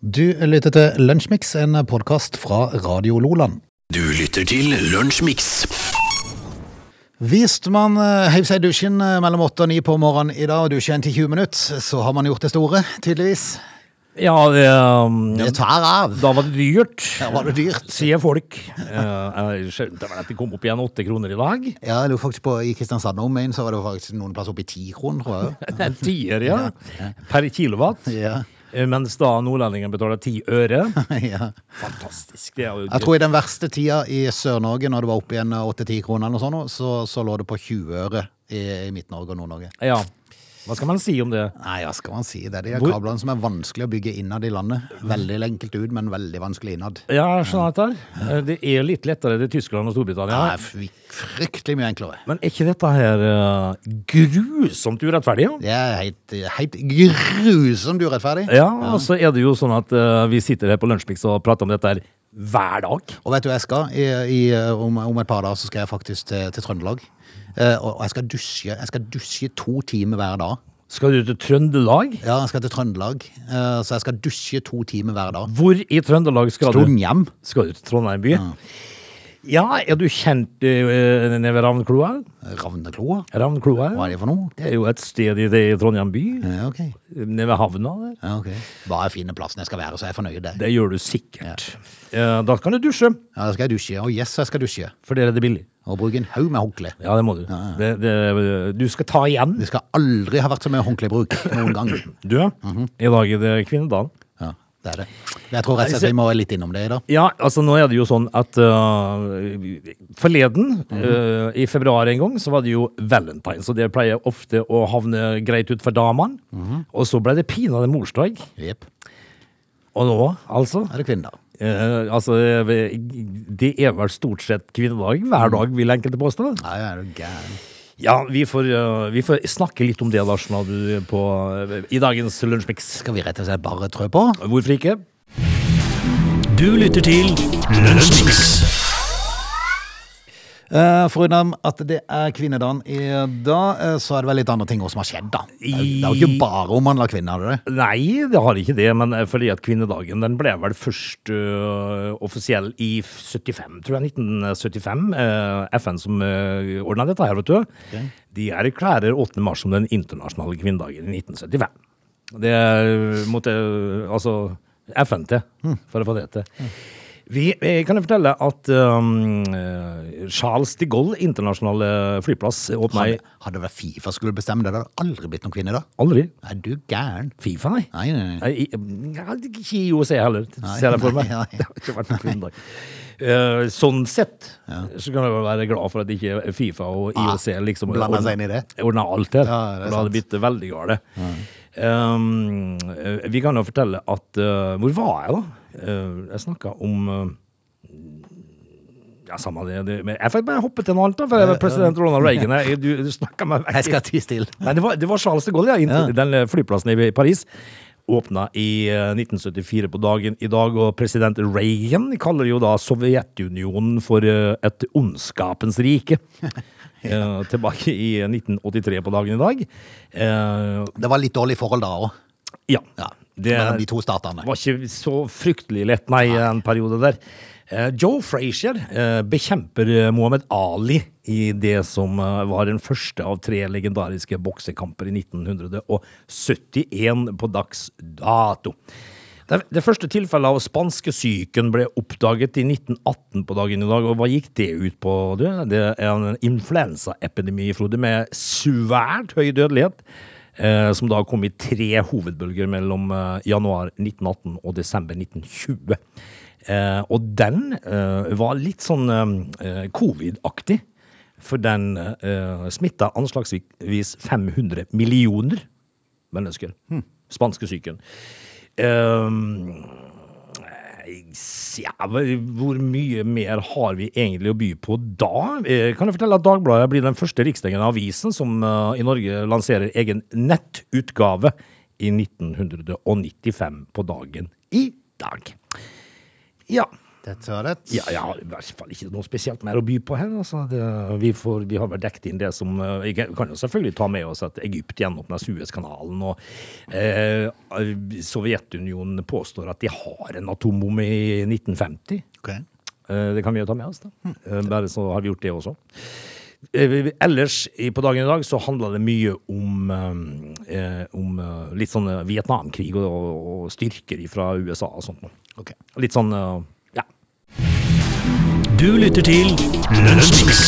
Du lytter til Lunsjmix, en podkast fra Radio Loland. Du lytter til Lunsjmix. Hvis man eh, heiv seg i dusjen eh, mellom åtte og ni på morgenen i dag og dusjer en til 20 minutter, så har man gjort det store, tydeligvis. Ja, ehm, Det tar av. da var det dyrt, Da var det dyrt. sier folk. Eh, jeg skjønte vel at de kom opp igjen åtte kroner i dag. Ja, jeg lurer faktisk på, I Kristiansand om inn, så var det faktisk noen plasser oppe i ti kroner, tror jeg. Det er En tier, ja. Per kilowatt. Ja, Eh, Mens da nordlendingen betaler ti øre. ja. Fantastisk. Det er jo Jeg tror i den verste tida i Sør-Norge, når det var opp igjen eh, åtte-ti kroner, eller noe sånt, så, så lå det på 20 øre i, i Midt-Norge og Nord-Norge. Ja. Hva skal man si om det? Nei, ja, skal man si det. Det er de Hvor- kablene som er vanskelig å bygge innad i landet. Veldig enkelt ut, men veldig vanskelig innad. Ja, jeg skjønner dette. her. Eh, Det er litt lettere til Tyskland Det og Storbritannia. er fry- fryktelig mye enklere. Men er ikke dette her eh, grusomt urettferdig? ja? Det er helt, helt grusomt urettferdig. Ja, og så er det jo sånn at eh, vi sitter her på Lunsjmix og prater om dette her hver dag. Og vet du hva jeg skal? I, i, om, om et par dager så skal jeg faktisk til, til Trøndelag. Eh, og og jeg skal, dusje, jeg skal dusje to timer hver dag. Skal du til Trøndelag? Ja, jeg skal til Trøndelag, eh, så jeg skal dusje to timer hver dag. Hvor i Trøndelag skal du? Trondhjem? Skal du til Trondheim by? Ja, er du kjent eh, nede ved Ravnkloa? Ravnekloa? Ravnkloa Hva er det for noe? det er jo et sted i det i Trondheim by, Ja, ok. nede ved havna der. Ja, ok. Bare jeg finner plassen jeg skal være, så er jeg fornøyd der. Det gjør du sikkert. Eh, Da kan du dusje, Ja, da skal jeg dusje. Å, yes, jeg skal dusje. for der er det billig. Og bruke en haug med håndkle. Ja, det må du. Det, det, du skal ta igjen. Det skal aldri ha vært så mye håndklebruk noen gang. Du, i dag er det kvinnedagen. Ja, det er det. Jeg tror rett og slett vi må litt innom det i dag. Ja, altså nå er det jo sånn at øh, forleden, øh, i februar en gang, så var det jo valentine, så det pleier ofte å havne greit ut for damene. Og så ble det pinadø morsdag. Jepp. Og nå, altså, Er det kvinner? eh, altså Det er vel stort sett kvinnedag hver dag, vil enkelte påstå. Nei, er du gæren. Ja, vi får, øh, vi får snakke litt om det, Lars, når du på, eh, i dagens Lunsjmix. Skal vi rett og slett bare trø på? Hvorfor ikke? Du lytter til Lunsjmix. Eh, Foruten at det er kvinnedagen i dag, eh, så er det vel litt andre ting også som har skjedd, da. Det er det er jo ikke bare omhandla kvinner, er det det? Nei, det har ikke det, men eh, fordi at kvinnedagen den ble vel først øh, offisiell i 75, tror jeg, 1975. eh, FN som uh, ordna dette her, vet du. De erklærer 8. mars som den internasjonale kvinnedagen i 1975. Det eh, måtte eh, altså FN til for å få det til. Vi, eh, kan jeg fortelle at um, eh, Charles de Gaulle internasjonale flyplass åpna i Hadde, hadde vel Fifa skulle bestemme det, det hadde aldri blitt noen kvinner da. Aldri. Er du gæren? Fifa, nei. Nei, nei, nei. Nei, i- ja, det- ikke i USA heller, ser jeg for meg. nei, nei. Det har ikke vært noen kvinnedag. Eh, sånn sett så kan jeg vel være glad for at ikke Fifa og Ah, IOC liksom blander ordner- seg inn i det. Ordner alt her. Ja, det er for da hadde det blitt veldig gale. Um, eh, vi kan jo fortelle at eh, Hvor var jeg, da? Eh, jeg snakka om eh, ja, samme det. det men jeg får bare hoppe til noe annet, da. For jeg var president Ronald Reagan jeg, Du, du snakka meg vekk. Jeg skal tie stille. Nei, det var, det var Charles de Gaulle, ja. Inn, Den eh, flyplassen i Paris åpna i eh, 1974 på dagen i dag, og president Reagan kaller jo da Sovjetunionen for eh, et ondskapens rike. Eh, tilbake i 1983 på dagen i dag. Eh, Det var litt dårlig forhold da òg, ja. ja, Det mellom de to statene. var ikke så fryktelig lett, nei, en periode der. Eh, Joe Frazier eh, bekjemper eh, Muhammad Ali i det som eh, var den første av tre legendariske boksekamper i 1971 på dags dato. Det, det første tilfellet av spanskesyken ble oppdaget i 1918 på dagen i dag, og hva gikk det ut på? Du? Det er en influensaepidemi, Frode, med svært høy dødelighet, eh, som da kom i tre hovedbølger mellom eh, januar 1918 og desember 1920. Eh, og den eh, var litt sånn eh, covid-aktig, for den eh, smitta anslagsvis 500 millioner mennesker. Spanskesyken. Ehm, ja, hvor mye mer har vi egentlig å by på da? Eh, Kan jeg fortelle at Dagbladet blir den første riksdengende avisen som eh, i Norge lanserer egen nettutgave i 1995 på dagen i dag. Ja, Dette var det. Ja, jeg har i hvert fall ikke noe spesielt mer å by på her. Altså. Det, vi, får, vi har vel dekket inn det som eh, Vi kan jo selvfølgelig ta med oss at Egypt gjenåpner Suezkanalen, og eh, Sovjetunionen påstår at de har en atombom i 1950. Ok. Eh, Det kan vi jo ta med oss, da. Eh, Bare så har vi gjort det også. Eh, vi- vi- Ellers i- på dagen i dag så handla det mye om, eh, eh, om eh, litt sånn eh, Vietnamkrig og, og og styrker fra USA og sånt noe. Ok. Litt sånn eh, ja. Du lytter til Lunsjmix.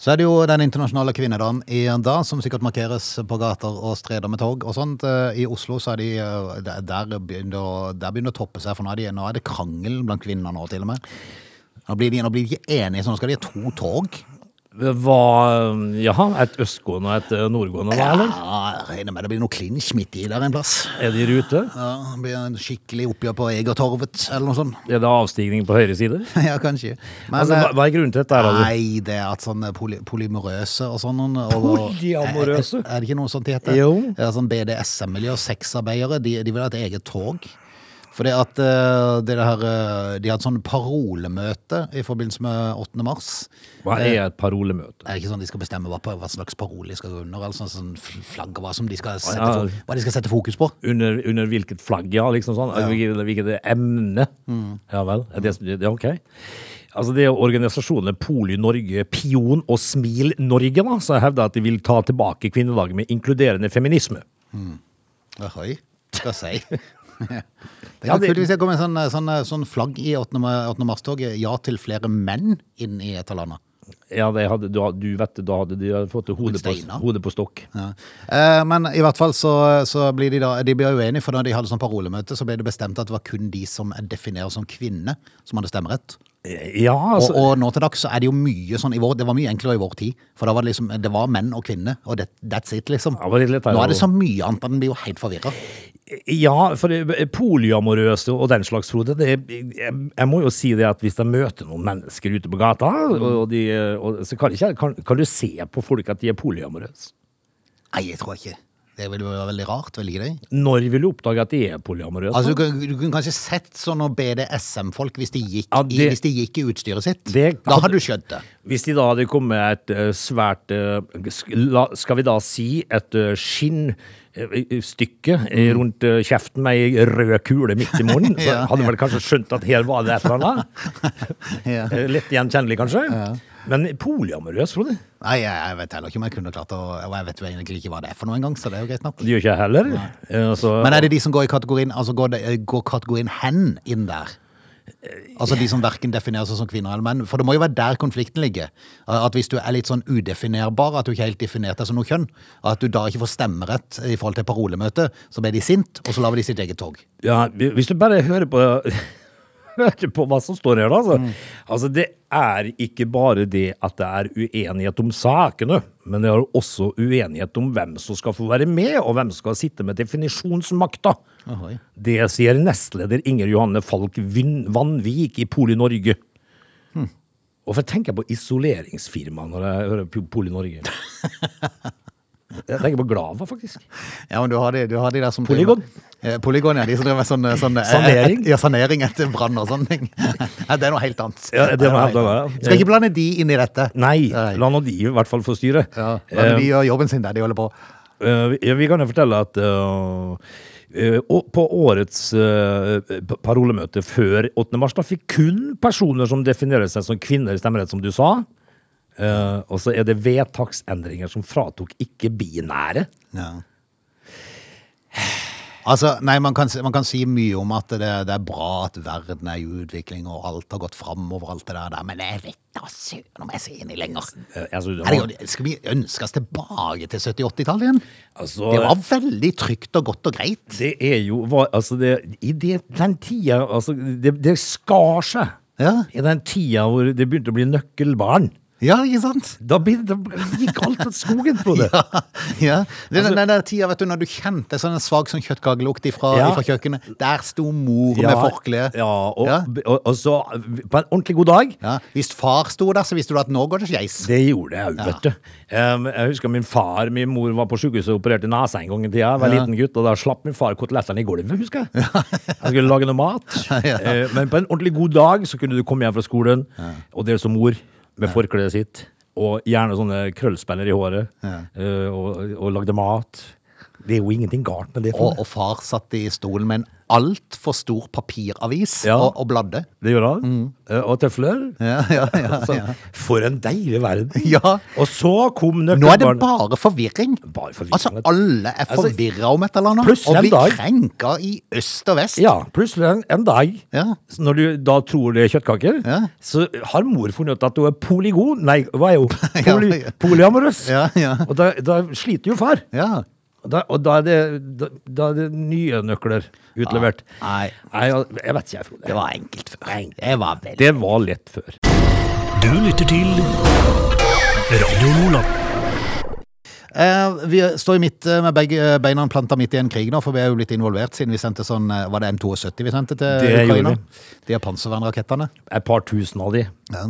Så er det jo den internasjonale kvinnedagen i en dag, som sikkert markeres på gater og streder med torg og sånt. Eh, I Oslo så er de eh, der- Der begynner der begynner det å toppe seg, for nå er, de, nå er det krangel blant kvinner nå, til og med. Nå blir de, nå blir de ikke enige, så nå skal de ha to torg. Det var eh, Jaha, et østgående og et eh, nordgående, da, eller? Ja, jeg regner med det blir noe klinsj midt i der en plass. Er det i rute? Ja, det blir en skikkelig oppgjør på Egertorvet, eller noe sånt. Er det avstigning på høyre side? ja, kanskje. Men, altså, hva, eh, hva er grunnen til dette? her, da, Nei, det er at sånn poly polymorøse og sånn og, Polyamorøse? Er, er det ikke noe sånt de heter? Jo. Det er sånn BDSM-miljø og sexarbeidere, de, de vil ha et eget tog. Fordi at eh, det her, eh, de hadde sånn parolemøte i forbindelse med 8. mars. du? Hva er et parolemøte? Det er ikke sånn de skal bestemme hva, hva slags parole de skal gå under, eller sånn, sånn fl- flagg og hva, som de skal sette, ja. fo- hva de skal sette fokus på. Under, under hvilket flagg, ja. liksom sånn. Hvilket, hvilket emne. Ja vel. Er det, det er ok. Altså Det er jo organisasjonene Poli Norge, Pion og Smil Norge da, som hevder at de vil ta tilbake kvinnedagen med inkluderende feminisme. Ahoi, skal jeg si. Det Ja, er det- kult hvis det kommer en sånn, sånn, sånn flagg i 8. ma- 8. mars-toget, ja til flere menn inn i et eller annet. Ja, det hadde, du, du vet det, da hadde de hadde fått det hodet på, Steiner. hodet på stokk. Ja. Eh, Men i hvert fall så, så blir de da De blir uenige, for da de hadde sånn parolemøte, så ble det bestemt at det var kun de som defineres som kvinne, som hadde stemmerett. Ja, Og, altså, og nå til dags så er det jo mye sånn i vår, Det var mye enklere i vår tid. For da var det liksom Det var menn og kvinner, og det, that's it, liksom. Ja, det var litt lettere. Nå er det så mye annet at en blir jo helt forvirra. Ja, for det- polyamorøse og den slags, Frode. Det, jeg, jeg må jo si det at hvis jeg møter noen mennesker ute på gata, og de, og, så kan, ikke, kan, kan du se på folk at de er polyamorøse. Nei, jeg tror ikke Det ville jo være veldig rart, vil ikke det? Når vil du oppdage at de er polyamorøse? Altså, du, kunne- du kunne kanskje sett sånn sånne BDSM-folk hvis, de gikk Ja, i- det- hvis de gikk i utstyret sitt. Det- da hadde du skjønt det. Hvis de da hadde kommet med et eh, svært eh, sk- la- Skal vi da si et eh, skinnstykke rundt eh, kjeften med ei rød kule midt i munnen, så Mm. Ja, hadde vel kanskje skjønt at her var det et eller annet? Ja. Eh, Litt gjenkjennelig, kanskje? Men polyamorøs, Frode? Nei, jeg, jeg vet heller ikke om jeg kunne klart å Og jeg vet jo egentlig ikke hva det er for noe engang, så det er jo greit nok. Det gjør ikke jeg heller. Eh, Så, Men er det de som går i kategorien Altså går, det, går kategorien hen inn der? Altså de som verken definerer seg som kvinner eller menn? For det må jo være der konflikten ligger. At hvis du er litt sånn udefinerbar, at du ikke helt definerte deg som noe kjønn, at du da ikke får stemmerett i forhold til parolemøtet, så blir de sint, og så lager de sitt eget tog. ja, hvis du bare hører på Hører på hva som står her, da. Altså. Mm. altså, det er ikke bare det at det er uenighet om sakene, men det er også uenighet om hvem som skal få være med, og hvem som skal sitte med definisjonsmakta. Ahoi. Det sier nestleder Inger Johanne Falk Vin- Vanvik i Poli Norge. Hm. Hvorfor tenker jeg på isoleringsfirma når jeg hører P- Poli Norge? Jeg tenker på Glava, faktisk. Ja, men du har de, du har de der som Polygon? Eh, Polygon, ja. De som driver med sånn, eh, sånn eh, Sanering? et- Ja, sanering etter brann og sånne ting. Ja, det er noe helt annet. Ja, det er noe helt annet, ja. Skal ikke blande de inn i dette. Nei, Eh, Nei. la nå de i hvert fall få styre. Ja, men de gjør jobben sin der de holder på. Eh, vi- vi kan jo fortelle at eh, eh, å- på årets eh, p- parolemøte før 8. mars da fikk kun personer som definerer seg som kvinner, stemmerett, som du sa. Eh, og så er det vedtaksendringer som fratok ikke-binære. Ja. Altså, nei, man kan, si- man kan si mye om at det, det er bra at verden er i utvikling, og alt har gått framover, alt det der, der, men jeg vet da søren om jeg ser inn i lenger. Eh, altså, det var- Herregud, skal vi ønske oss tilbake til 70-80-tallet igjen? Altså- det var veldig trygt og godt og greit. det er jo hva- altså det, I det, den tida altså, det, det skar seg. Ja. I den tida hvor det begynte å bli nøkkelbarn. Ja, ikke sant? Da, blir- da gikk alt til skogen på det. Ja, ja. Den, Altså- den der tida vet du, når du kjente sånn en svak sånn kjøttkakelukt ifra, Ja. ifra kjøkkenet. Der sto mor med forkle. Ja, og, Ja. Og, og så på en ordentlig god dag. Ja. Hvis far sto der, så visste du at nå går det skeis. Det gjorde jeg òg, vet du. Em, jeg husker min far Min mor var på sykehuset og opererte nesa en gang i tida. Jeg var Ja. liten gutt, og da slapp min far kotelettene i gulvet, husker jeg. Jeg skulle lage noe mat. Eh, Men på en ordentlig god dag så kunne du komme hjem fra skolen, og det som mor med forkleet sitt, og gjerne sånne krøllspenner i håret, eh, og, og lagde mat. Det er jo ingenting galt med det. for Og, og far satt i stolen med en altfor stor papiravis Ja. og, og bladde. Det gjør han. Eh, Og tøfler. Mm. Ja, ja, ja, Så, ja. Altså, For en deilig verden. Ja. Og så kom Nå er det nøkkelbarnet. bare forvirring. Bare forvirring, Altså, vet du. alle er Altså, forvirra om et eller annet. plutselig Og en dag- blir krenka i øst og vest. Ja, plutselig en, en dag, Ja. så når du da tror det er kjøttkaker, Ja. så har mor funnet ut at hun er polygon, nei, hva er hun? Ja, Poly, ja. polyamorøs. Ja, ja. Og da, da sliter jo far. Ja. Og Da, og da er, det, da, da er det nye nøkler utlevert. Ah, Nei. jeg vet ikke, jeg, Frode. Det var enkelt før. Det var veldig Det var lett før. Du lytter til Radio Lola. Eh, vi står jo midt eh, med begge beina planta midt i en krig nå, for vi er jo blitt involvert siden vi sendte sånn eh, Var det M72 vi sendte til Det Ukraina? gjorde vi. De her panservernrakettene. Et par tusen av de. Ja.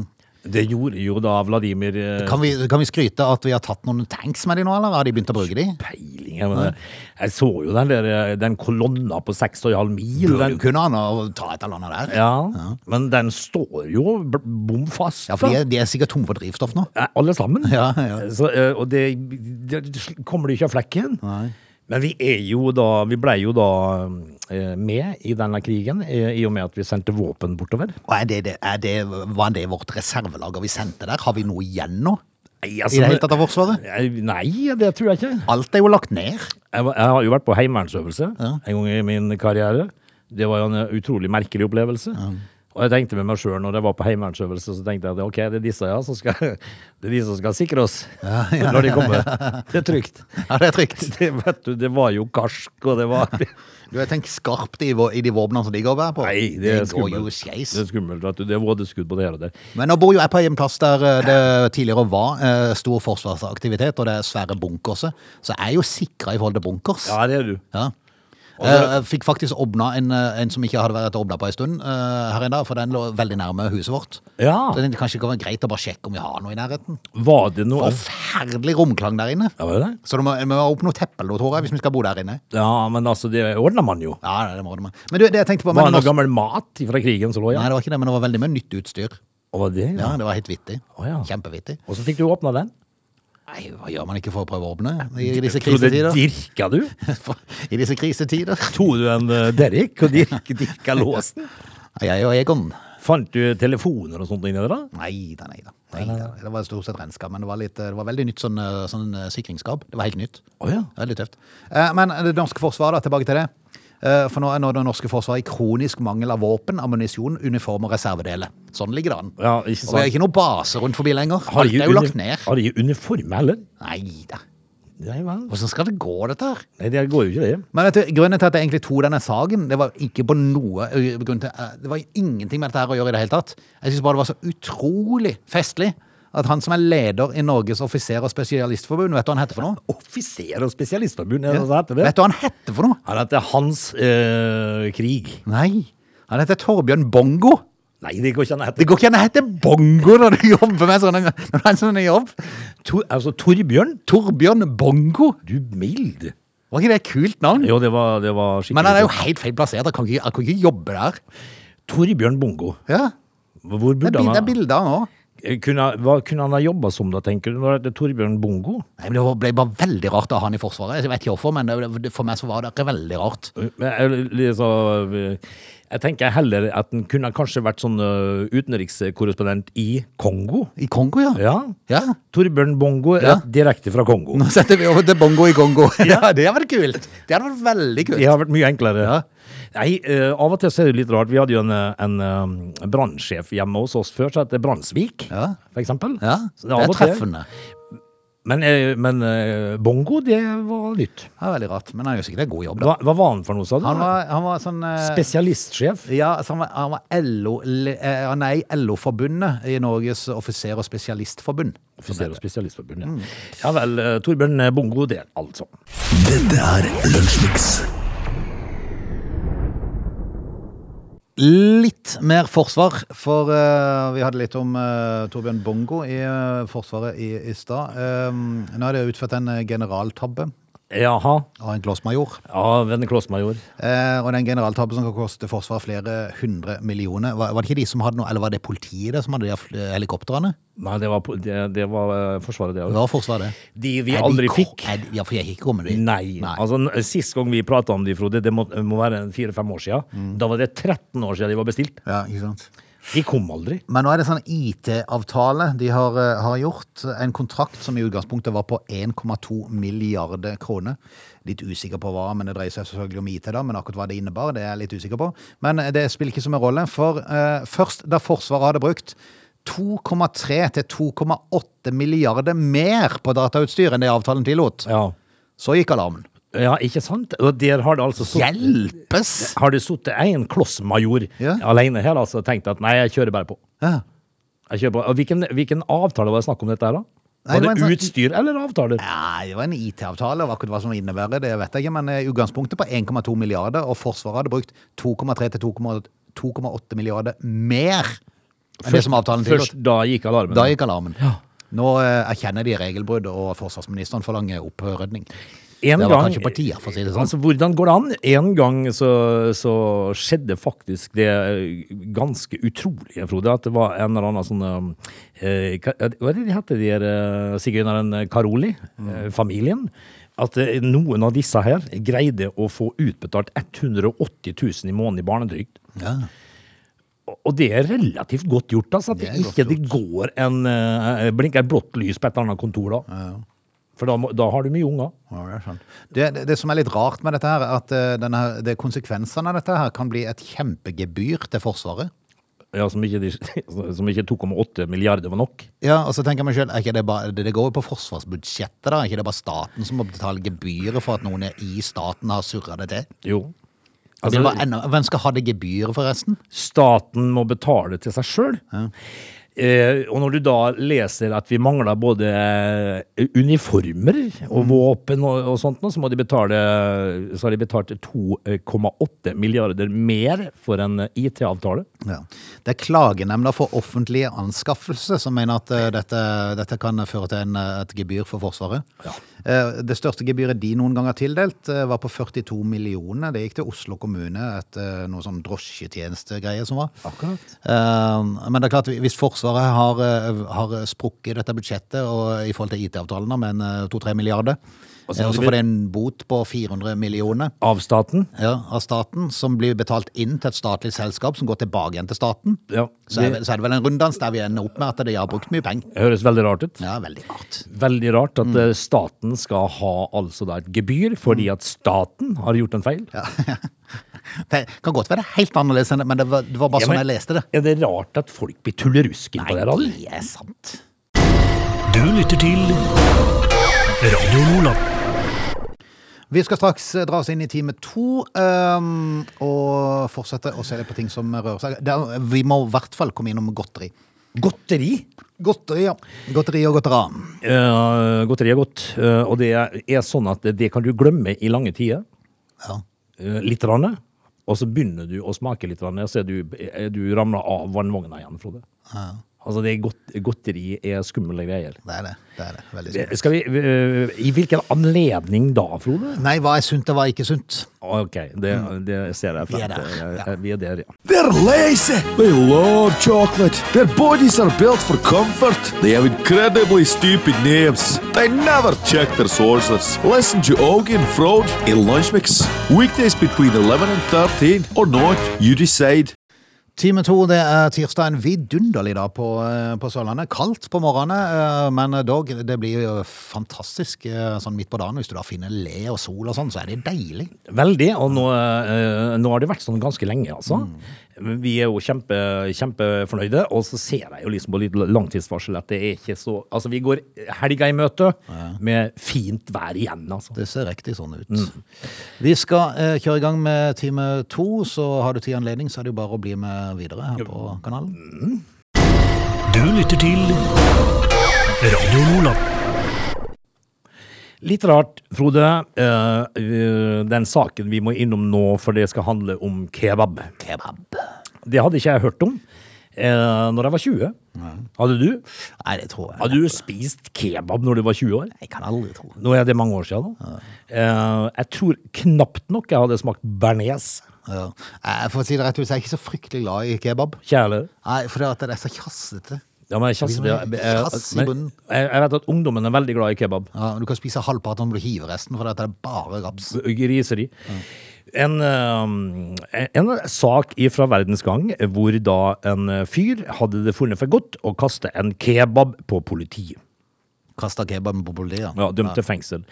Det gjorde jo da Vladimir eh, Kan vi, kan vi skryte at vi har tatt noen tanks med de nå, eller har de begynt å bruke de? peiling. Jeg, mener. jeg så jo den, der, eh, den kolonna på 6,5 mil. Burde Den, jo kunne han å ta et eller annet der? ja, Men den står jo b- bom fast. Ja, for de da. er, de er sikkert tomme for drivstoff nå. Eh, Alle sammen. Ja, ja. Så, eh, og det, det sl- kommer du ikke av flekken. Men vi er jo da Vi blei jo da eh, med i denne krigen eh, i og med at vi sendte våpen bortover. Og er det, det, er det, Var det vårt reservelager vi sendte der? Har vi noe igjen nå? Nei, I det hele tatt av Forsvaret? Eh, Nei, det tror jeg ikke. Alt er jo lagt ned. Jeg, var- jeg har jo vært på heimevernsøvelse en gang i min karriere. Det var jo en eh, utrolig merkelig opplevelse. Og jeg tenkte med meg sjøl når jeg var på heimevernsøvelse, så tenkte jeg at ok, det er disse ja, som skal, det er de som skal sikre oss når de kommer. Det er trygt. Ja, det er trygt. Det, vet du, det var jo karsk, og det var Du har tenkt skarpt i, vå- i de våpnene som de går og bærer på? Nei, det er går jo skummelt. skeis. Det er skummelt. Vet du. Det er vådeskudd på det her og der. Men nå bor jo jeg på en plass der eh, det tidligere var eh, stor forsvarsaktivitet, og det er svære bunkerser. Så jeg er jo sikra i forhold til bunkers. Ja, det er du. Ja. Eh, Jeg fikk faktisk åpna en, eh, en som ikke hadde vært åpna på en stund eh, her i dag, for den lå veldig nærme huset vårt. Ja. Så det kanskje kan være greit å bare sjekke om vi har noe i nærheten. Var det noe Forferdelig romklang der inne. ja, var det det? Så det må, vi må ha opp noe teppe eller noe, tror jeg, hvis vi skal bo der inne. ja, men altså, det ordner man jo. Ja, det må det må. Men du, det jeg tenkte på Var men det det noe var, gammel mat fra krigen som lå Nei, igjen? det var ikke det, men det var veldig mye nytt utstyr. Og var det? Ja, det var helt vittig. Å, ja. Kjempevittig. Og så fikk du åpna den? Nei, hva gjør man ikke for å prøve å åpne i disse Frode, krisetider? dirka du? For- I disse krisetider. Tok du en eh, Derek og dirk, dirka låsen? Jeg og Egon. Fant du telefoner og sånt inni der? da? Nei da, nei da. Nei, da. Det var stort sett renska, men det var, litt, eh, det var veldig nytt sånn, eh, sånn eh, sikringsskap. Det var helt nytt. Å ja. Veldig tøft. Eh, Men det norske forsvaret, da, tilbake til det. Eh, For nå er nå det norske forsvaret i kronisk mangel av våpen, ammunisjon, uniform og reservedeler. Sånn ligger det an. Ja, ikke Og det er sant. ikke noe base rundt forbi lenger. Har Alt de er jo uni- lagt ned. Har de uniform heller? Nei da. Nei vel. Åssen skal det gå, dette her? Nei, det går jo ikke det. Men vet du, grunnen til at jeg egentlig tok denne saken, det var ikke på noe ø, grunn til, eh, Det var ingenting med dette her å gjøre i det hele tatt. Jeg syns bare det var så utrolig festlig at han som er leder i Norges offiser- og spesialistforbund, vet du hva han heter for noe? Offiser- og spesialistforbund, er det hva det heter det? Vet du hva han heter for noe? Han heter Hans eh, Krig. Nei, han heter Torbjørn Bongo. Nei, det går ikke an å hete Det går ikke an å hete Bongo når du jobber med sånne, når du har en sånn jobb. Tor, altså, Torbjørn. Torbjørn Bongo. Du mild. Var ikke det et kult navn? Jo, det var, det var skikkelig Men han er jo helt feil plassert. Han kan ikke, han kan ikke jobbe der. Torbjørn Bongo. Ja, Hvor Det er, burde bil- det er han ha Eh, bilder av han òg. kunne, Hva kunne han ha jobba som, da, tenker du? Når det heter Torbjørn Bongo? Nei, men Det ble bare veldig rart å ha han i Forsvaret. Jeg vet ikke hvorfor, men det- det- for meg så var det veldig rart. Men Jeg, liksom, jeg tenker heller at den kunne kanskje vært sånn ø, utenrikskorrespondent i Kongo. I Kongo, ja. Ja. Ja. Torbjørn Bongo er Ja. direkte fra Kongo. Nå setter vi over til bongo i Kongo. Ja, Det hadde vært kult. Det hadde vært veldig kult. Det har vært mye enklere. Nei, ø, Av og til så er det litt rart. Vi hadde jo en, ø, en eh, ø, brannsjef hjemme hos oss før, som het Brannsvik, Ja. for eksempel. Ja, Så Det er av og til- treffende. Men, eh, men eh, bongo, det var nytt. Det er veldig rart, men han gjør sikkert en god jobb, da. Hva, hva var han for noe, sa du? Han var, han var sånn eh, Spesialistsjef. Ja, så han var, han var LO, le- eh, han er i LO-forbundet, i Norges offiser- og spesialistforbund. Offiser og spesialistforbund, Mm. ja. Ja vel, eh, Torbjørn eh, Bongo, det altså. Dette er Lunsjmix. Litt mer forsvar, for eh, vi hadde litt om eh, Torbjørn Bongo i eh, Forsvaret i, i stad. Eh, nå er det utført en eh, generaltabbe Jaha. av en klossmajor. Ja, Venne Klossmajor. Eh, og den generaltabben som kan koste Forsvaret flere hundre millioner. Var, var det ikke de som hadde noe, eller var det politiet det som hadde de her fl- helikoptrene? Nei, det var, po- det, det var eh, Forsvaret, det Det òg. var Forsvaret, det. De vi Er de aldri ko- fikk. er de- Ja, for jeg har ikke kommet dit. Nei. Nei. Altså, n- sist gang vi prata om de, Frode, det må, må være en fire-fem år siden. Mm. Da var det 13 år siden de var bestilt. Ja, ikke sant? De kom aldri. Men nå er det sånn IT-avtale de har, eh, har gjort. En kontrakt som i utgangspunktet var på 1,2 milliarder kroner. Litt usikker på hva, men det dreier seg selvfølgelig om IT, da. Men akkurat hva det innebar, det er jeg litt usikker på. Men eh, det spiller ikke så mye rolle, for eh, først da Forsvaret hadde brukt 2,3 til 2,8 milliarder mer på datautstyr enn det avtalen tillot, Ja. så gikk alarmen. ja, ikke sant? Og der har det altså sutt- Hjelpes! Har det sittet en klossmajor Ja. alene her altså, og tenkt at nei, jeg kjører bare på. Ja. Jeg kjører på. Og Hvilken, hvilken avtale var det snakk om dette her, da? Nei, Var det det, var en sånn- utstyr eller avtaler? Nei, det var en IT-avtale, og akkurat hva som innebærer det vet jeg ikke, men eh, utgangspunktet på 1,2 milliarder, og Forsvaret hadde brukt 2,3 til 2,8 2,8 milliarder mer enn det som avtalen Først tillot. da gikk alarmen. Da gikk alarmen. Nå eh, erkjenner de regelbrudd, og forsvarsministeren forlanger opprydning. En det var gang, kanskje på tide, for å si det sånn. Altså, hvordan går det an? En gang så, så skjedde faktisk det eh, ganske utrolige, Frode, at det var en eller annen sånn eh, ka- Hva er det de heter, de der eh, sigøyneren Karoli? Mm. eh, Familien? At eh, noen av disse her greide å få utbetalt 180 000 i måneden i barnetrygd. Ja. Og- Og det er relativt godt gjort, altså. At Det det, er ikke godt det går en eh, blinker et blått lys på et eller annet kontor da. For da, må- da har du mye unger. Ja, det, er sant. det, det, det som er litt rart med dette her, er at eh, denne, her- det konsekvensene av dette her kan bli et kjempegebyr til Forsvaret. Ja, som ikke, de- som ikke 2,8 milliarder var nok. Ja, og så tenker jeg meg selv, er ikke det, bare, det det går jo på forsvarsbudsjettet da, er ikke det bare staten som må betale gebyret for at noen er i staten har surret det til? Jo. Og det Altså, var enda, hvem skal ha det gebyret forresten? staten må betale til seg sjøl. Eh, og når du da leser at vi mangler både eh, uniformer Mm. og våpen og, og sånt, nå, så, må de betale, så har de betalt 2,8 milliarder mer for en eh, IT-avtale. Ja. Det er klagenemnda for offentlige anskaffelse som mener at eh, dette, dette kan føre til en, eh, et gebyr for Forsvaret. Eh, Det største gebyret de noen gang har tildelt eh, var på 42 millioner. Det gikk til Oslo kommune etter noe sånn drosjetjenestegreie som var. Akkurat. Eh, Men det er klart, hvis Forsvaret har, eh, har sprukket dette budsjettet og, i forhold til IT-avtalen da, med en, eh, 2-3 milliarder, eh, og Og så- så får de en bot på 400 millioner Av staten. ja, av staten, som blir betalt inn til et statlig selskap som går tilbake igjen til staten, Ja, så er, det- vel- så er det vel en runddans der vi ender opp med at de har brukt mye penger. Det høres veldig rart ut. Ja, Mm. veldig rart. Veldig rart at eh, staten skal ha altså da et gebyr Mm. fordi at staten har gjort en feil. Det kan godt være helt annerledes, enn det, men det var, det var bare Ja, sånn men- jeg leste det. Er det rart at folk blir tullerusking på det her, aldri? det er sant. Du lytter til Radio Lola. Vi skal straks eh, dra oss inn i time to ehm, og fortsette å se litt på ting som rører seg. Det er- vi må i hvert fall komme innom godteri. Godteri? Godteri, ja. Godteri og godteran. godteri er godt, eh, og det er sånn at det kan du glemme i lange tider. Ja. eh, litt rann, og så begynner du å smake litt, rann, og så er du, er du ramla av vannvogna igjen, Frode. Altså, det er godt, godteri er skumle greier. Det er det. det, er det. Veldig sunt. Skal vi, eh, I hvilken anledning da, Frode? Nei, hva er sunt og hva er ikke sunt? Ok, det, det ser jeg Vi er frem til. der, Jeg- jeg- eh, Vi er der, ja. They're lazy. They love chocolate. Their bodies are built for comfort. They have incredibly stupid names. They never check their sources. Listen to Augie and Frode in Lunch Mix. Weekdays between 11 and 13 or not, you decide. Time to, det er tirsdag. En vidunderlig dag på, eh, på Sørlandet. Kaldt på morgenen, eh, men dog, det blir jo fantastisk eh, sånn midt på dagen. Hvis du da finner le og sol og sånn, så er det deilig. Veldig, og nå, eh, nå har det vært sånn ganske lenge, altså. Men vi er jo kjempe, kjempefornøyde, og så ser jeg jo liksom på litt langtidsvarsel at det er ikke så Altså, vi går helga i møte med fint vær igjen, altså. Det ser riktig sånn ut. Vi skal eh, kjøre i gang med time to, så har du tid og anledning, så er det jo bare å bli med videre her på kanalen. Du lytter til Radio Nordland. Litt rart, Frode. eh, eh, den saken vi må innom nå, for det skal handle om kebab. Kebab. Det hadde ikke jeg hørt om uh, når jeg var 20. Hadde du? Nei, det tror jeg. Hadde du spist kebab når du var 20 år? Jeg kan aldri tro det. Nå er det mange år siden. Da. Eh, jeg tror knapt nok jeg hadde smakt bearnés. Ja. Jeg får si det rett ut, så jeg er ikke så fryktelig glad i kebab. Kjære. Nei, for det, at det er så kjassete. Ja, men jeg, kjasser det, Det eh, er kjass i men bunnen. jeg, jeg vet at ungdommen er veldig glad i kebab. Ja, du kan spise halvparten om du hiver resten, for det at det er bare raps. Griseri. En, eh, en sak fra Verdens Gang hvor da en fyr hadde det funnet for godt å kaste en kebab på politiet. Kasta kebaben på politiet. Ja, dømt til fengsel.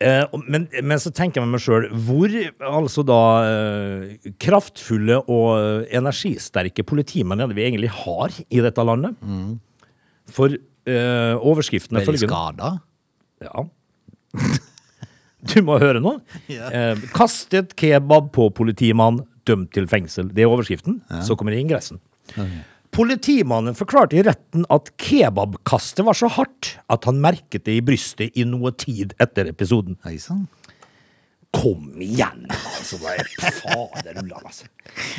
Eh, og- Men, men så tenker jeg med meg sjøl, hvor altså da eh, kraftfulle og eh, energisterke politimenn er det vi egentlig har i dette landet? For eh, overskriften er Ble de følgende skada? Ja. Du må høre nå. Ja. Eh, kastet kebab på politimann, dømt til fengsel. Det er overskriften. Så kommer ingressen. Politimannen forklarte i retten at kebabkastet var så hardt at han merket det i brystet i noe tid etter episoden. Hei sann. Kom igjen! Altså, hva er fader ullan, altså.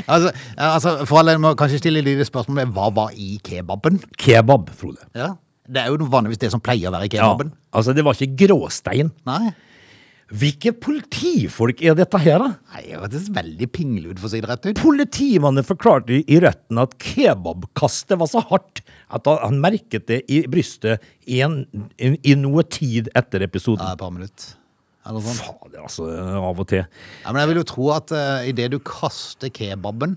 Altså, altså, for alle må kanskje stille de spørsmålet hva var i kebaben? Kebab, Frode. Ja. Det er jo vanligvis det som pleier å være i Ja, kebaben. altså, det var ikke gråstein. Nei. Hvilke politifolk er dette her, da? Nei, det hørtes veldig pinglete ut, for å si det rett ut. Politimannen forklarte i retten at kebabkastet var så hardt at han- han merket det i brystet i, en, i, i noe tid etter episoden. Ja, et par minutter. Eller sånn. Fader, altså, av og til. Ja, men jeg vil jo tro at uh, idet du kaster kebaben,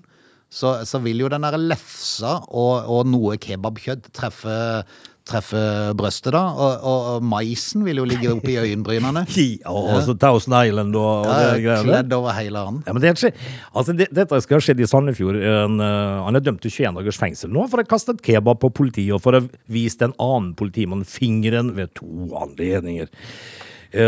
så, så vil jo den der lefsa og, og noe kebabkjøtt treffe, treffe brøstet, da. Og, og, og maisen vil jo ligge oppi øyenbrynene. Ja, og så Thousand Island og, og det Ja, greiene der. Kledd over hele han. Ja, men det skje, altså det, dette skal ha skjedd i Sandefjord. En, eh, han er dømt til 21 dagers fengsel nå for å ha kastet kebab på politiet og for å ha vist en annen politimann fingeren ved to anledninger. Eh,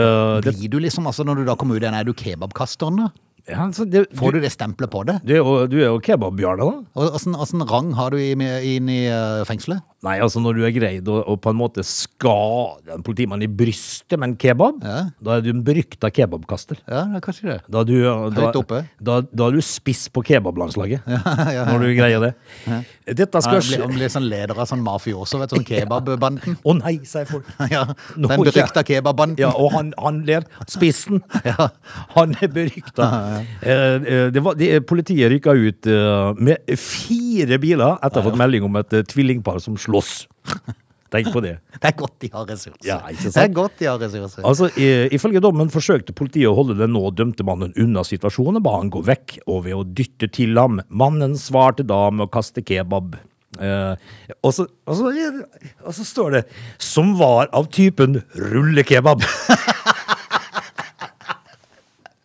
det, Blir du liksom, altså Når du da kommer ut igjen, er du kebabkasteren? da? ja, altså det, du, Får du det stempelet på det? du er jo- du er jo kebabbjarne, da. Og Åssen åssen rang har du i- inn i eh, fengselet? Nei, altså når du er greid å, å på en måte skade en politimann i brystet med en kebab, Ja. da er du en berykta kebabkaster. Ja, det er kanskje det. Da er du, da, Høyt oppe. Da, da er du spiss på kebablandslaget, ja. når du greier det. Dette Ja, skal blir, skje... han blir sånn leder av sånn mafioso, vet du. Sånn kebabbanden. Å nei, sier folk. Ja, Nå den ikke- berykta kebabbanden. Ja, og han, han ler. Spissen. Han er berykta. Eh, eh, det var- de- Politiet rykka ut eh, med fire biler etter å ha fått melding om et eh, tvillingpar som slåss. Tenk på det. Det er godt de har ressurser. Ja, ikke sant? Det er godt de har ressurser. Altså, i- Ifølge dommen forsøkte politiet å holde den nå dømte mannen unna situasjonen, ba han gå vekk, og ved å dytte til ham. Mannen svarte da med å kaste kebab. Eh, og, så, og, så, og så står det 'som var av typen rullekebab'.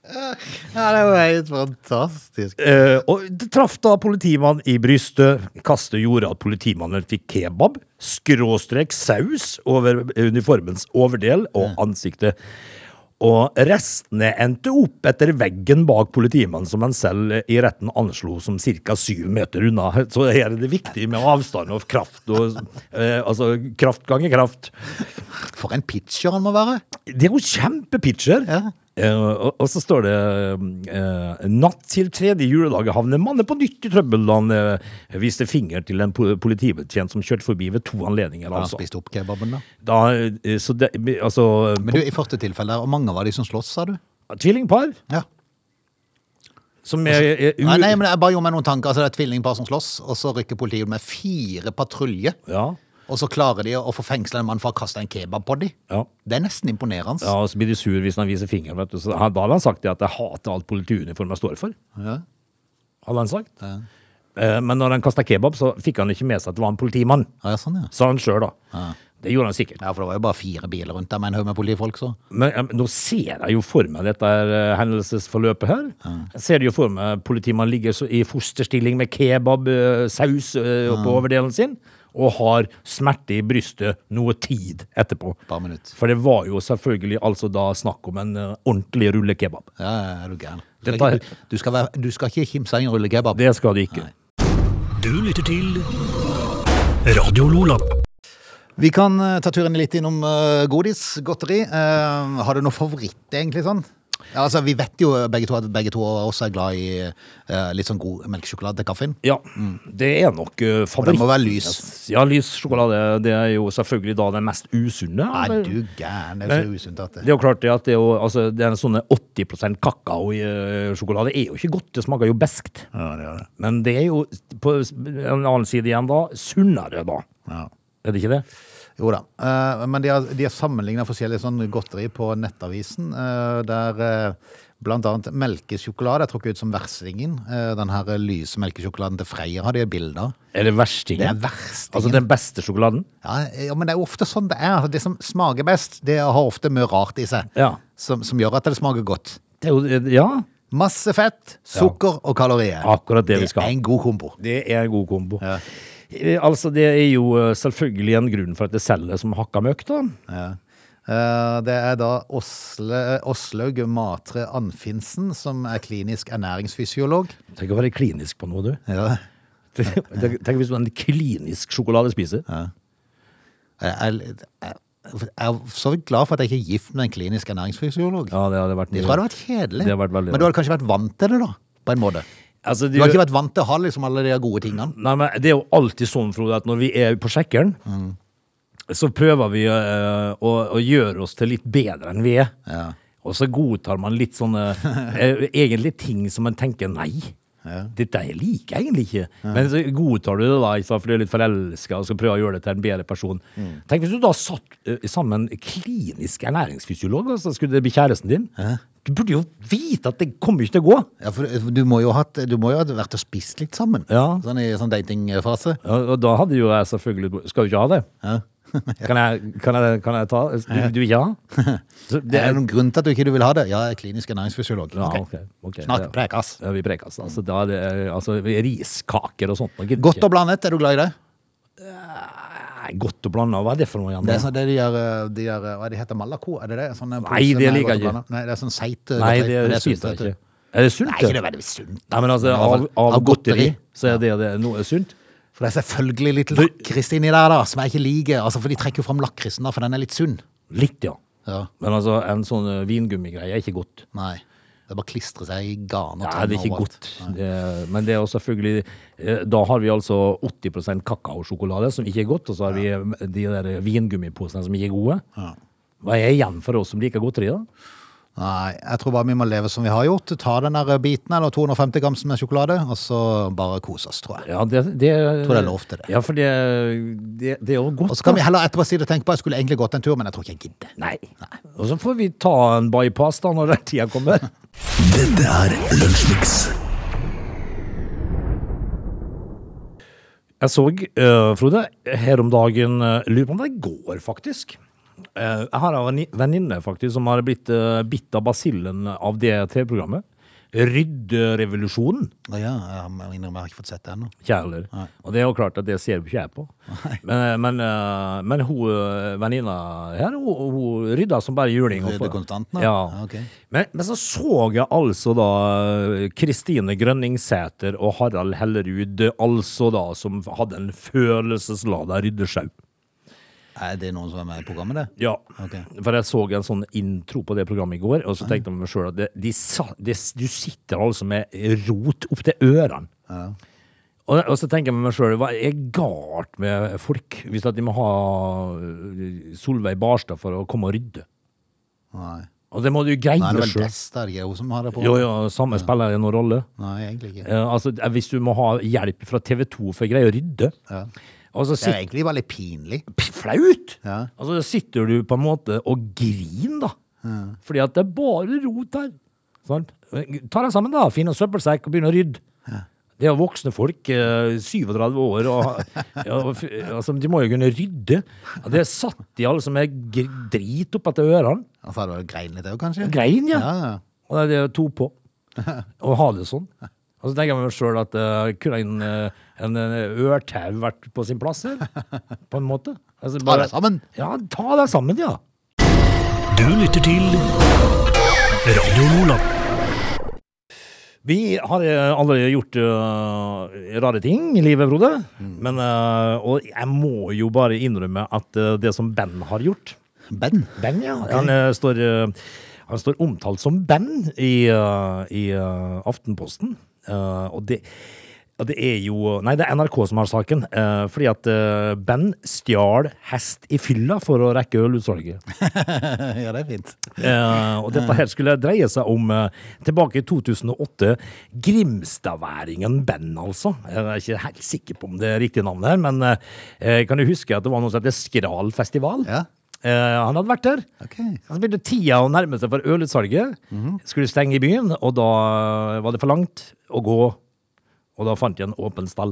Ja, det er jo helt fantastisk. Eh, og det traff da politimannen i brystet. Kastet gjorde at politimannen fikk kebab, skråstrek saus over uniformens overdel og ansiktet. Og restene endte opp etter veggen bak politimannen, som han selv eh, i retten anslo som ca. syv meter unna. Så her er det viktig med avstand og kraft. Og, eh, altså kraft ganger kraft. For en pitcher han må være. Det er jo kjempepitcher. Ja. Eh, og, og så står det eh, Natt til tredje juledag havner mannen på nytt i trøbbel da han eh, viste finger til en po- politibetjent som kjørte forbi ved to anledninger. Han Altså. spiste opp kebaben, da. Da, eh, så det, altså Men du, i første tilfelle der, og mange var de som slåss, sa du? på- Tvillingpar Ja. som er, er, Altså, u- Nei, nei, men jeg bare gjorde meg noen tanker. Altså, det er et tvillingpar som slåss, og så rykker politiet ut med fire patruljer. ja, Og så klarer de å få fengsla en mann for å kaste en kebab på dem. ja. Det er nesten imponerende. ja, og så blir de sur hvis han viser fingeren. Vet du. Så, han- da hadde han sagt det at jeg hater alt politiuniformen står for. Ja. Hadde han sagt. Eh, men når han kasta kebab, så fikk han ikke med seg at det var en politimann. Ja, sånn, ja. Sa han sjøl, da. Det gjorde han sikkert. Ja, for det var jo bare fire biler rundt der med en haug med politifolk, så. Men eh, nå ser jeg jo for meg dette her, eh, hendelsesforløpet her. Jeg ser jo for meg politimannen ligger så- i fosterstilling med eh, kebabsaus på overdelen sin, og har smerte i brystet noe tid etterpå. Par minutter. For det var jo selvfølgelig altså da snakk om en eh, ordentlig rullekebab. Ja, ja, er du gæren. Du Dette skal, er- ikke, du, skal være, du skal ikke kimse av en rullekebab. Det skal det ikke. Du lytter til Radio Lola. Vi kan eh, ta turen litt innom eh, godis, godteri. Eh, har du noe favoritt, egentlig, sånn? Ja, altså, vi vet jo begge to at begge to også er glad i eh, litt sånn god melkesjokolade til kaffen. Ja, det er nok eh, favoritt. Mm. må være lys. Ja, lys sjokolade. Det er jo selvfølgelig da den mest usunne. Er eller? du gæren? Det er jo så usunt at Det er jo klart det at det er jo, altså, det er en sånne 80 kakao i eh, sjokolade er jo ikke godt. Det smaker jo beskt. Ja, det er det. Men det er jo på s- en annen side igjen da, sunnere da. Ja. Er det ikke det? Jo da. Eh, men de har, de har sammenligna forskjellige sånn godteri på nettavisen, eh, der eh, blant annet melkesjokolade er trukket ut som verstingen. Eh, den her lyse melkesjokoladen til Freia har de bilder av. Eller verstingen? Det er verstingen. Altså den beste sjokoladen? Ja, ja, men det er jo ofte sånn det er. Det som smaker best, det har ofte mye rart i seg. Ja. Som, som gjør at det smaker godt. Det er jo, eh, ja, Masse fett, sukker og kalorier. akkurat det, vi skal ha. er en god kombo. Det er en god kombo. Eh, Altså, det er jo eh, selvfølgelig en grunn for at det selger som hakka møkk, da. Ja. Eh, Det er da Åsle, Åslaug Matre Anfinsen, som er klinisk ernæringsfysiolog. Tenk å være klinisk på noe, du. Ja. Tenk tenk hvis du er en klinisk sjokoladespiser. Jeg, jeg, jeg er så vidt glad for at jeg ikke er gift med en klinisk ernæringsfysiolog. Ja, det hadde vært Det tror jeg hadde vært kjedelig. Det hadde vært veldig men du hadde kanskje vært vant til det, da? På en måte. Altså, Du har ikke vært vant til å ha liksom alle de gode tingene. Nei, men det er jo alltid sånn, Frode, at når vi er på sjekkeren, så prøver vi eh, å, å gjøre oss til litt bedre enn vi er. Ja. Og så godtar man litt sånne eh, egentlig ting som man tenker nei. Dette her liker jeg egentlig ikke. Men så godtar du det, da, ikke sant, for du er litt forelska og skal prøve å gjøre det til en bedre person. Tenk hvis du da satt eh, sammen med en klinisk ernæringsfysiolog, og så skulle det bli kjæresten din. Du burde jo vite at det kommer ikke til å gå. Ja, for du må jo ha hatt- du må jo ha vært og spist litt sammen. Ja. Sånn i sånn datingfase. Ja, og da hadde jo jeg selvfølgelig Skal du ikke ha det? kan, jeg, kan, jeg, kan jeg ta Du, du vil ikke ha? Så Det det er det noen grunn til at du ikke vil ha det. Ja, jeg er klinisk ernæringsfysiolog. ja, Ok. ok, ok, Snakk ja. prekas. Ja, vi prekas. Altså, da er det, altså, riskaker og sånt. nå gidder Godt ikke. og blandet, er du glad i det? Nei, godt å blande. Hva er det for noe? Jan? Det er sånn det de gjør, eh, de gjør eh, hva er det heter, Malaco? Er det det? Sånne Nei, pose det med liker jeg godt og ikke. blandet. Nei, det er sånn seit. eh, Nei, godt, men det er sunt, syns jeg vet du. ikke. Er det sunt? Nei, det? ikke nødvendigvis sunt. Nei, men Men altså, i hvert av, fall- av av godteri godteri. så er det, det noe sunt. For det er selvfølgelig litt lakris inni der, da, som jeg ikke liker. Altså, for de trekker jo fram lakrisen, da, for den er litt sunn. Litt, ja. Ja. Men altså, en sånn eh, vingummigreie er ikke godt. Nei. Det er bare å klistre seg i garn og Nei, det er ikke overalt. godt. Det, men det er jo selvfølgelig eh, Da har vi altså 80 kakaosjokolade, som ikke er godt, og så har vi eh, de der vingummiposene som ikke er gode. Hva er igjen for oss som liker godteri, da? Nei, jeg tror bare vi må leve som vi har gjort. Ta den der eh, biten eller 250 grams med sjokolade, og så bare kose oss, tror jeg. Ja, det, det, Tror det er lov til det. Ja, for det, det, det er jo godt. Og så kan vi da. heller etterpå si det tenke på, jeg skulle egentlig gått en tur, men jeg tror ikke jeg gidder. Nei. Og så får vi ta en bypass da, når den tida kommer. Dette er Lunsjmix. Jeg så, eh, Frode, her om dagen eh, Lurer på om det er i går, faktisk. Eh, jeg har en venninne faktisk som har blitt eh, bitt av basillen av det TV-programmet. Rydderevolusjonen. Å Ja, jeg må innrømme, jeg har ikke fått sett det ennå. Kjæler. Og det er jo klart at det ser jo ikke jeg på. Men, men, eh, men hun eh, venninna her, hun, hun rydda som bare juling. og Rydder for- konstant nå? Ja. Ja, ok. men, men så så jeg altså da eh, Kristine Grønningsæter og Harald Hellerud, eh, altså da som hadde en følelseslada ryddesjau. Er det noen som er med i programmet, det? Ja, Ok. for jeg så en sånn intro på det programmet i går, og så tenkte jeg med meg sjøl at det, de, sa- det, du sitter altså med rot opp til ørene. Og, og så tenker jeg med meg sjøl, hva er galt med folk hvis at de må ha øh, Solveig Barstad for å komme og rydde? Nei. Og det må du greie Nei, det er vel sjøl. Dest, er det ikke hun som har det på? Jo, jo, samme spiller det noen rolle. Nei, egentlig ikke. Eh, altså, eh, hvis du må ha hjelp fra TV2 for å greie å rydde. Ja. Og så Det er sitter egentlig bare litt pinlig. P- flaut! Ja. Altså, da sitter du på en måte og griner, da. Fordi at det er bare rot her. Sant? Ta deg sammen, da. Finn en søppelsekk og begynn å rydde. Det er jo voksne folk, eh, 37 år, og, ja, og f- altså, de må jo kunne rydde. Ja, Det satt de alle som er gr- drit opp etter ørene. Han sa det var grein litt òg, kanskje? Grein, ja. Ja, ja. Og det er det to på. Å ha det sånn. Og så tenker jeg meg sjøl at eh, kunne en, eh, en, eh, ørtau vært på sin plass her? På en måte. Altså, Ta deg sammen. Ja, ta deg sammen, ja. Du lytter til Radio Lola. Vi har eh, allerede gjort eh, rare ting i livet, Frode. Men, eh, og jeg må jo bare innrømme at eh, det som Ben har gjort Ben. Ben, ja. Han, eh, står, eh, han står omtalt som Ben i, eh, i eh, Aftenposten. Eh, og det, og det er jo Nei, det er NRK som har saken. eh, fordi at eh, Ben stjal hest i fylla for å rekke ølutsalget. ja, det er fint. Eh, og dette her skulle dreie seg om eh, tilbake i 2008. Grimstadværingen Ben, altså. Jeg er ikke helt sikker på om det er riktig navn her, men eh, eh, kan du huske at det var noe som heter Skral festival? Ja. Eh, han hadde vært der. Ok. Mhm. Så begynte tida å nærme seg for ølutsalget. Skulle stenge i byen, og da var det for langt å gå. Og da fant de en åpen stall.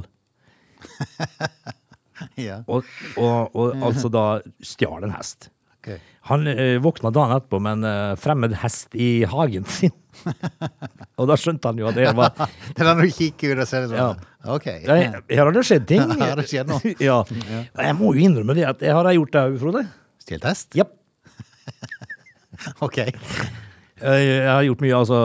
Ja. Og, og, og altså da stjal en hest. ok. Han eh, våkna dagen etterpå med en eh, fremmed hest i hagen sin. og da skjønte han jo at det var Det er når du kikker ut og ser det Ja. sånn. Ok. Nei, Her har det skjedd ting. Her har det skjedd noe. ja. Men Jeg må jo innrømme det, at det har jeg gjort det òg, Frode. Stilt hest? Japp. Ok. Eh, Jeg har gjort mye, altså,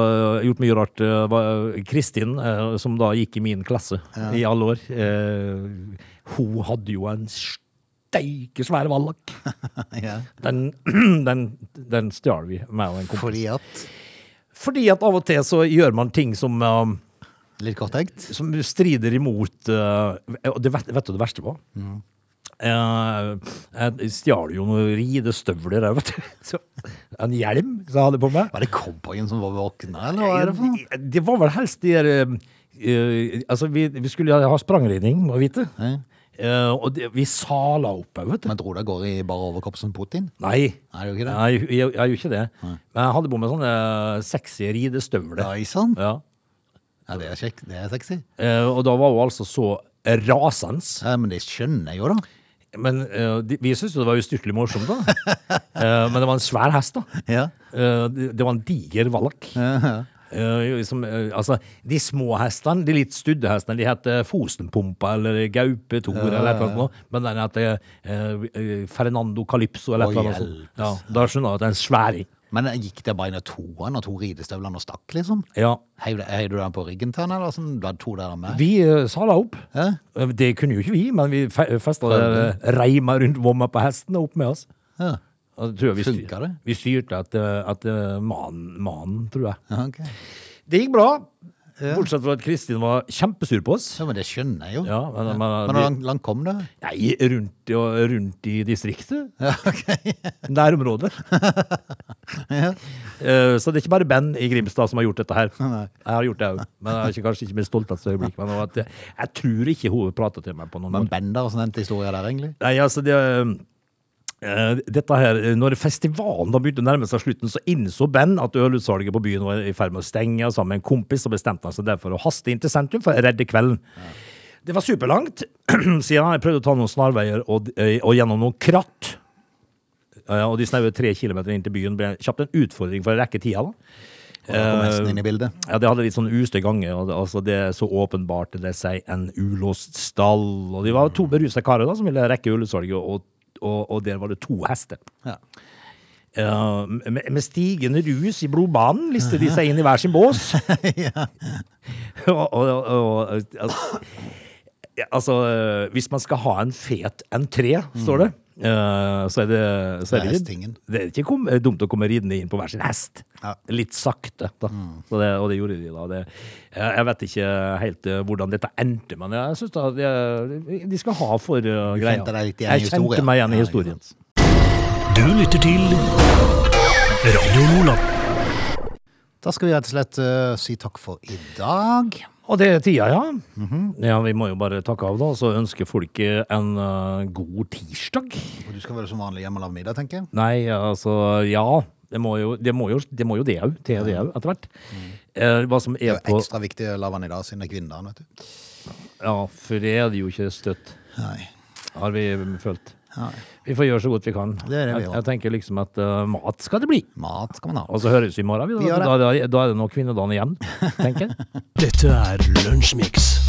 gjort mye rart. Eh, var- Kristin, eh, som da gikk i min klasse i alle år, eh, hun hadde jo en steikesvær vallak. Ja. Den, den, den stjal vi, meg og en kompis. Fordi at Fordi at av og til så gjør man ting som eh, Litt korttenkt? som strider imot eh, og det vet, vet du det verste var? Eh, jeg stjal jo noen ridestøvler der, vet du. Så, en hjelm som jeg hadde på meg. Eh, Var det cowboyen som var våkna, eller hva er det for noe? Det, var vel helst de der eh, eh, Altså, vi, vi skulle ha sprangridning, må vite. Ja. Eh, og det, vi sala opp òg, vet du. Men tror du det går i bare overkropp som Putin? Nei. Nei, det gjør ikke det. Nei, jeg, jeg, jeg gjorde ikke det. Men jeg hadde på meg sånne eh, sexy ridestøvler. Nei sann! Ja. Ja, det er kjekt. Det er sexy. Eh, og da var hun altså så rasende. Ja, men det skjønner jeg jo, da. Men eh, de, vi syntes jo det var ustyrtelig morsomt, da. Eh, men det var en svær hest, da. Ja. Eh, det, det var en diger vallak. Eh, som, eh, altså, de små hestene, de litt studde hestene, de heter Fosenpumpa eller Gaupetor eller et eller annet noe. Men den heter eh, eh, Fernando Calypso Å, eller et eller annet. sånt. hjelpes. Ja, da skjønner jeg at det er en sværing. Men gikk det bare inn i toene og to ridestøvlene og stakk, liksom? Ja. Heiv det- heiv du den på ryggen til han, eller sånn? Du hadde to der og meg? Vi eh, sala opp. Ja. Eh, Det kunne jo ikke vi, men vi fe festa eh, reima rundt vomma på hesten og opp med oss. Ja. Og det tror jeg vi styr- Funker det? Vi styrte eh, etter, etter mannen, mannen, tror jeg. Ja, ok. Det gikk bra, bortsett fra at Kristin var kjempesur på oss. Ja, men det skjønner jeg jo. Ja, men, men, Men hvor langt, langt kom det? Nei, rundt, i- og rundt i distriktet. Nærområdet. Eh, Så det er ikke bare Ben i Grimstad som har gjort dette her. Jeg har gjort det òg, men jeg har ikke, kanskje ikke mitt stolteste øyeblikk. Men det var at jeg, jeg tror ikke hun prata til meg på noen Men Bender og sånn endte historia der, egentlig? Nei, altså det eh, dette her, Når festivalen da begynte å nærme seg slutten, så innså Ben at ølutsalget på byen var i ferd med å stenge. og Sammen med en kompis så bestemte han seg derfor å haste inn til sentrum for å redde kvelden. Det var superlangt, siden han prøvde å ta noen snarveier og, eh, og gjennom noen kratt. Eh, Og de snaue tre kilometerne inn til byen ble kjapt en utfordring for å rekke tida. da. Eh, Og da kom hesten inn i bildet. Ja, det hadde litt sånn ustø gange, og det, altså, det er så åpenbart det seg en ulåst stall. Og de var to berusa karer da, som ville rekke ulesalget, og, og, og der var det to hester. Ja. Eh, med, med stigende rus i blodbanen listet de seg inn i hver sin bås. og, og, og, altså, ja, altså, eh, hvis man skal ha en fet entré, står det, eh, så er det, Mm. Det er så er det, hestingen. ikke, det er ikke kom, eh, dumt å komme ridende inn på hver sin hest. Ja. Mm. Litt sakte, da. Så det, og det gjorde de, da. Det, jeg jeg vet ikke helt eh, hvordan dette endte, men jeg syns da de, de skal ha for eh, greia. kjente deg litt igjen i Jeg kjente historien. meg igjen Ja, i ikke historien. sant. Du lytter til Radio Lola. Da skal vi rett og slett eh, si takk for i dag. Og det er tida, ja. Mhm. Ja, Vi må jo bare takke av, da. Og så ønsker folk en eh, god tirsdag. Og du skal være som vanlig hjemme og lage middag, tenker jeg. Nei, altså ja. Det må jo det må jo, det må jo det òg, til det òg, etter hvert. Eh, hva som Det er er jo på ekstra viktig å la vann i dag, siden det er kvinner, vet du. Ja, for det er det jo ikke støtt, Nei. har vi følt. Nei. Vi får gjøre så godt vi kan. Det er det vi jeg, gjør. jeg tenker liksom at eh, mat skal det bli. Mat skal man ha. Og så høres vi i morgen. Vi, Vi da. gjør Da, da, da er det nå kvinnedagen igjen, tenker jeg. Dette er Lunsjmix.